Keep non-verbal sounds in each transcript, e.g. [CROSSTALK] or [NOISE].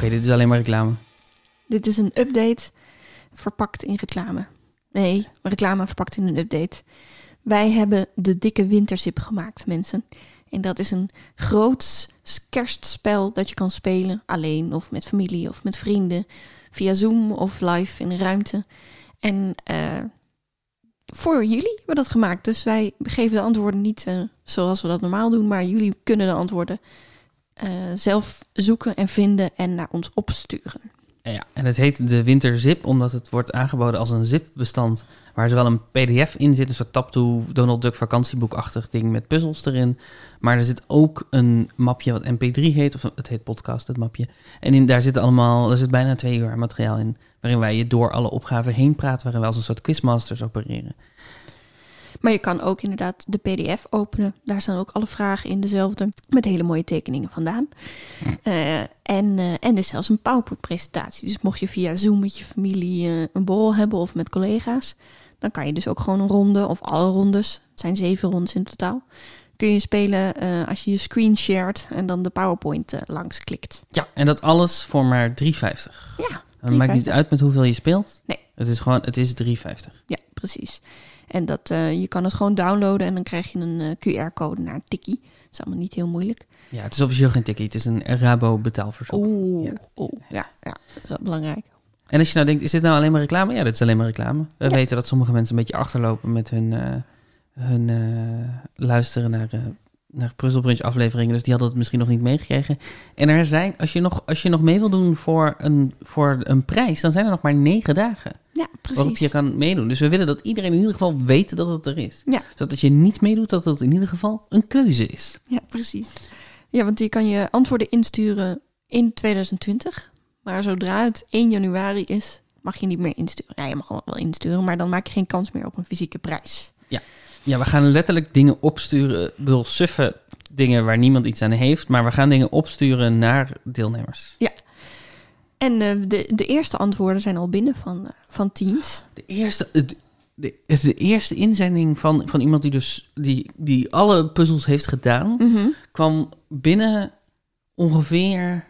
dit is alleen maar reclame. Dit is een update verpakt in reclame. Nee, reclame verpakt in een update. Wij hebben de dikke wintersip gemaakt, mensen. En dat is een groots kerstspel dat je kan spelen alleen of met familie of met vrienden. Via Zoom of live in een ruimte. En eh, voor jullie hebben we dat gemaakt. Dus wij geven de antwoorden niet eh, zoals we dat normaal doen. Maar jullie kunnen de antwoorden eh, zelf zoeken en vinden en naar ons opsturen. En Ja, en het heet de WinterZip omdat het wordt aangeboden als een zip-bestand waar zowel een PDF in zit, een soort taptoe Donald Duck vakantieboekachtig ding met puzzels erin, maar er zit ook een mapje wat MP3 heet of het heet podcast het mapje. En in, daar zit allemaal, er zit bijna twee uur aan materiaal in, waarin wij je door alle opgaven heen praten, waarin wij als een soort quizmasters opereren. Maar je kan ook inderdaad de PDF openen. Daar staan ook alle vragen in dezelfde. Met hele mooie tekeningen vandaan. Hm. Eh, en, eh, en er is zelfs een PowerPoint-presentatie. Dus mocht je via Zoom met je familie eh, een borrel hebben of met collega's. dan kan je dus ook gewoon een ronde of alle rondes. Het zijn zeven rondes in totaal. Kun je spelen eh, als je je screen shared en dan de PowerPoint eh, langs klikt. Ja, en dat alles voor maar 3,50. Het Ja, maakt 3,50. niet uit met hoeveel je speelt. Nee. Het is gewoon, het is 3,50. Ja, precies. En dat, eh, je kan het gewoon downloaden en dan krijg je een eh, QR-code naar een tikkie. Dat is allemaal niet heel moeilijk. Ja, het is officieel geen tikkie, het is een Rabo betaalverzoek. Oeh, Ja. ja. ja, ja, dat is wel belangrijk. En als je nou denkt, is dit nou alleen maar reclame? Ja, dit is alleen maar reclame. We weten dat sommige mensen een beetje achterlopen met hun, eh, hun eh, luisteren naar, eh naar Puzzlebrunch afleveringen. Dus die hadden het misschien nog niet meegekregen. En er zijn, als je nog, als je nog mee wil doen voor een, voor een prijs, dan zijn er nog maar negen dagen Ja, waarop je precies. kan meedoen. Dus we willen dat iedereen in ieder geval weet dat het er is. Ja. Zodat als je niet meedoet, dat het in ieder geval een keuze is. Ja, precies. Ja, want je kan je antwoorden insturen in 2020. Maar zodra het 1 januari is, mag je niet meer insturen. Ja, je mag wel wel insturen, maar dan maak je geen kans meer op een fysieke prijs. Ja, we gaan letterlijk dingen opsturen. Ik bedoel, suffe dingen waar niemand iets aan heeft. Maar we gaan dingen opsturen naar deelnemers. En eh, de, de eerste antwoorden zijn al binnen van, eh, van Teams. De eerste, het- de, het- de eerste inzending van, van iemand die dus die, die alle puzzels heeft gedaan, Mhm. kwam binnen ongeveer,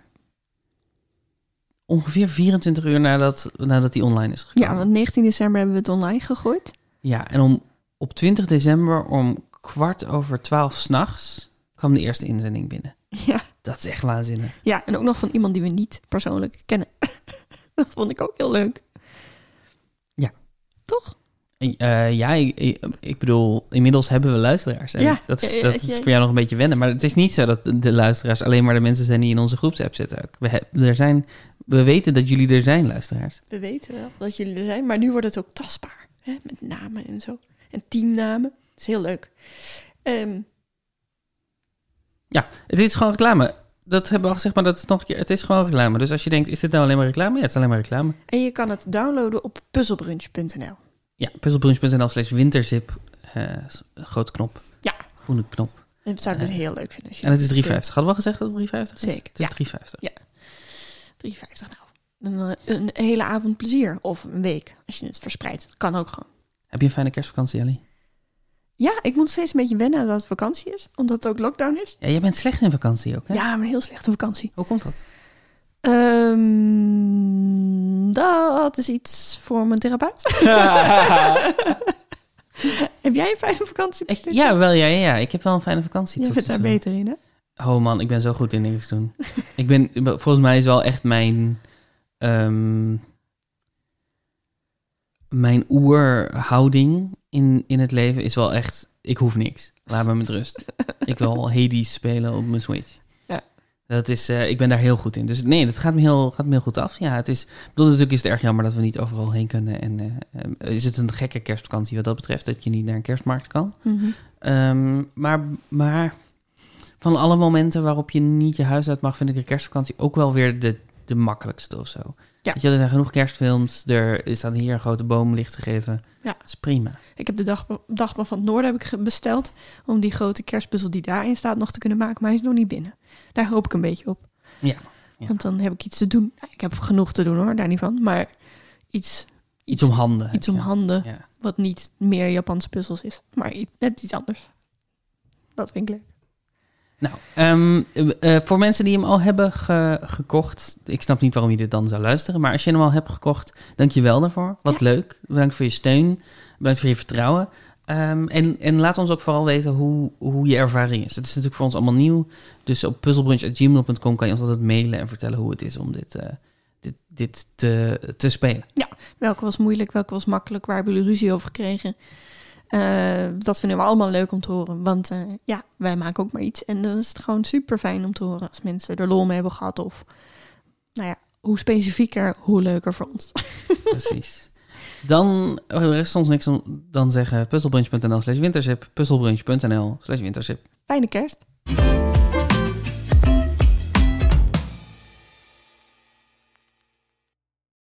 ongeveer 24 uur nadat, nadat die online is gekomen. Ja, want 19 december hebben we het online gegooid. [LAUGHS] Ja, en om, op 20 december om kwart over twaalf s'nachts kwam de eerste inzending binnen. Ja. Dat is echt waanzinnig. ja, en ook nog van iemand die we niet persoonlijk kennen. [LAUGHS] dat vond ik ook heel leuk. Ja. Toch? En, eh, ja, ik, ik- ik bedoel, inmiddels hebben we luisteraars. En Ja. dat is, Ja, dat ja, is ja. voor jou nog een beetje wennen. Maar het is niet zo dat de luisteraars alleen maar de mensen zijn die in onze groepsapp zitten. Ook. We, heb- er zijn, we weten dat jullie er zijn, luisteraars. We weten wel dat jullie er zijn, maar nu wordt het ook tastbaar. Hè? Met namen en zo. En teamnamen. Dat is heel leuk. Ehm, Ja, het is gewoon reclame. Dat hebben we al gezegd, maar dat is nog een keer. Het is gewoon reclame. Dus als je denkt, is dit nou alleen maar reclame? Ja, het is alleen maar reclame. en je kan het downloaden op puzzelbrunch.nl. Ja, puzzelbrunch.nl slash winterzip. eh, grote knop. Ja. Groene knop. En we zouden het dus heel leuk vinden. Als je En het is 3,50. steunt. Hadden we al gezegd dat het 3,50 is? Zeker, Het is 3,50. ja. 3,50 nou. Een, eh, een hele avond plezier. Of een week, als je het verspreidt. Dat kan ook gewoon. Heb je een fijne kerstvakantie, Ellie? Ja, ik moet steeds een beetje wennen dat het vakantie is. Omdat het ook lockdown is. Ja, jij bent slecht in vakantie ook, hè? Ja, maar een heel slechte vakantie. Hoe komt dat? Ehm, dat is iets voor mijn therapeut. [LAUGHS] Heb jij een fijne [LAUGHS] vakantie? Ik- ja, wel, ja, ja, ja. Ik heb wel een fijne vakantie. Je tot bent daar nu toe. beter in, hè? Oh man, ik ben zo goed in niks doen. ik ben, volgens mij is wel echt mijn, ehm, mijn oerhouding in, in het leven is wel echt, ik hoef niks. Laat me met rust. ik wil Hades spelen op mijn Switch. Ja. Dat is, eh, ik ben daar heel goed in. Dus nee, dat gaat me heel, gaat me heel goed af. Ja, het is, ik bedoel, natuurlijk is het erg jammer dat we niet overal heen kunnen. En eh, eh, is het een gekke kerstvakantie wat dat betreft, dat je niet naar een kerstmarkt kan. Ehm, maar, maar van alle momenten waarop je niet je huis uit mag, vind ik de kerstvakantie ook wel weer de, de makkelijkste of zo. Ja. Weet je, er zijn genoeg kerstfilms, er is aan hier een grote boom licht gegeven. Ja. Dat is prima. Ik heb de dag, Dagblad van het Noorden heb ik ge- besteld... om die grote kerstpuzzel die daarin staat nog te kunnen maken. Maar hij is nog niet binnen. Daar hoop ik een beetje op. Ja, ja. Want dan heb ik iets te doen. Nou, Ik heb genoeg te doen, hoor. Daar niet van. Maar iets... Iets om handen. heb Iets om je. handen, Ja. wat niet meer Japanse puzzels is. Maar i- net iets anders. Dat vind ik leuk. Nou, ehm, eh, eh, voor mensen die hem al hebben ge- gekocht, ik snap niet waarom je dit dan zou luisteren, maar als je hem al hebt gekocht, dank je wel daarvoor. Wat leuk. Bedankt voor je steun. Bedankt voor je vertrouwen. Ehm, en, en laat ons ook vooral weten hoe, hoe je ervaring is. Het is natuurlijk voor ons allemaal nieuw. Dus op puzzelbrunch.gmail.com kan je ons altijd mailen en vertellen hoe het is om dit, eh, dit, dit te, te spelen. Welke was moeilijk, welke was makkelijk, waar hebben jullie ruzie over gekregen? Eh, dat vinden we allemaal leuk om te horen. Want eh, ja, wij maken ook maar iets. En dan is het gewoon super fijn om te horen als mensen er lol mee hebben gehad. Of nou ja, hoe specifieker, hoe leuker voor ons. [LAUGHS] Precies. Dan eh, rest ons niks om dan zeggen puzzelbrunch.nl slash wintership, puzzelbrunch.nl slash wintership. Fijne kerst.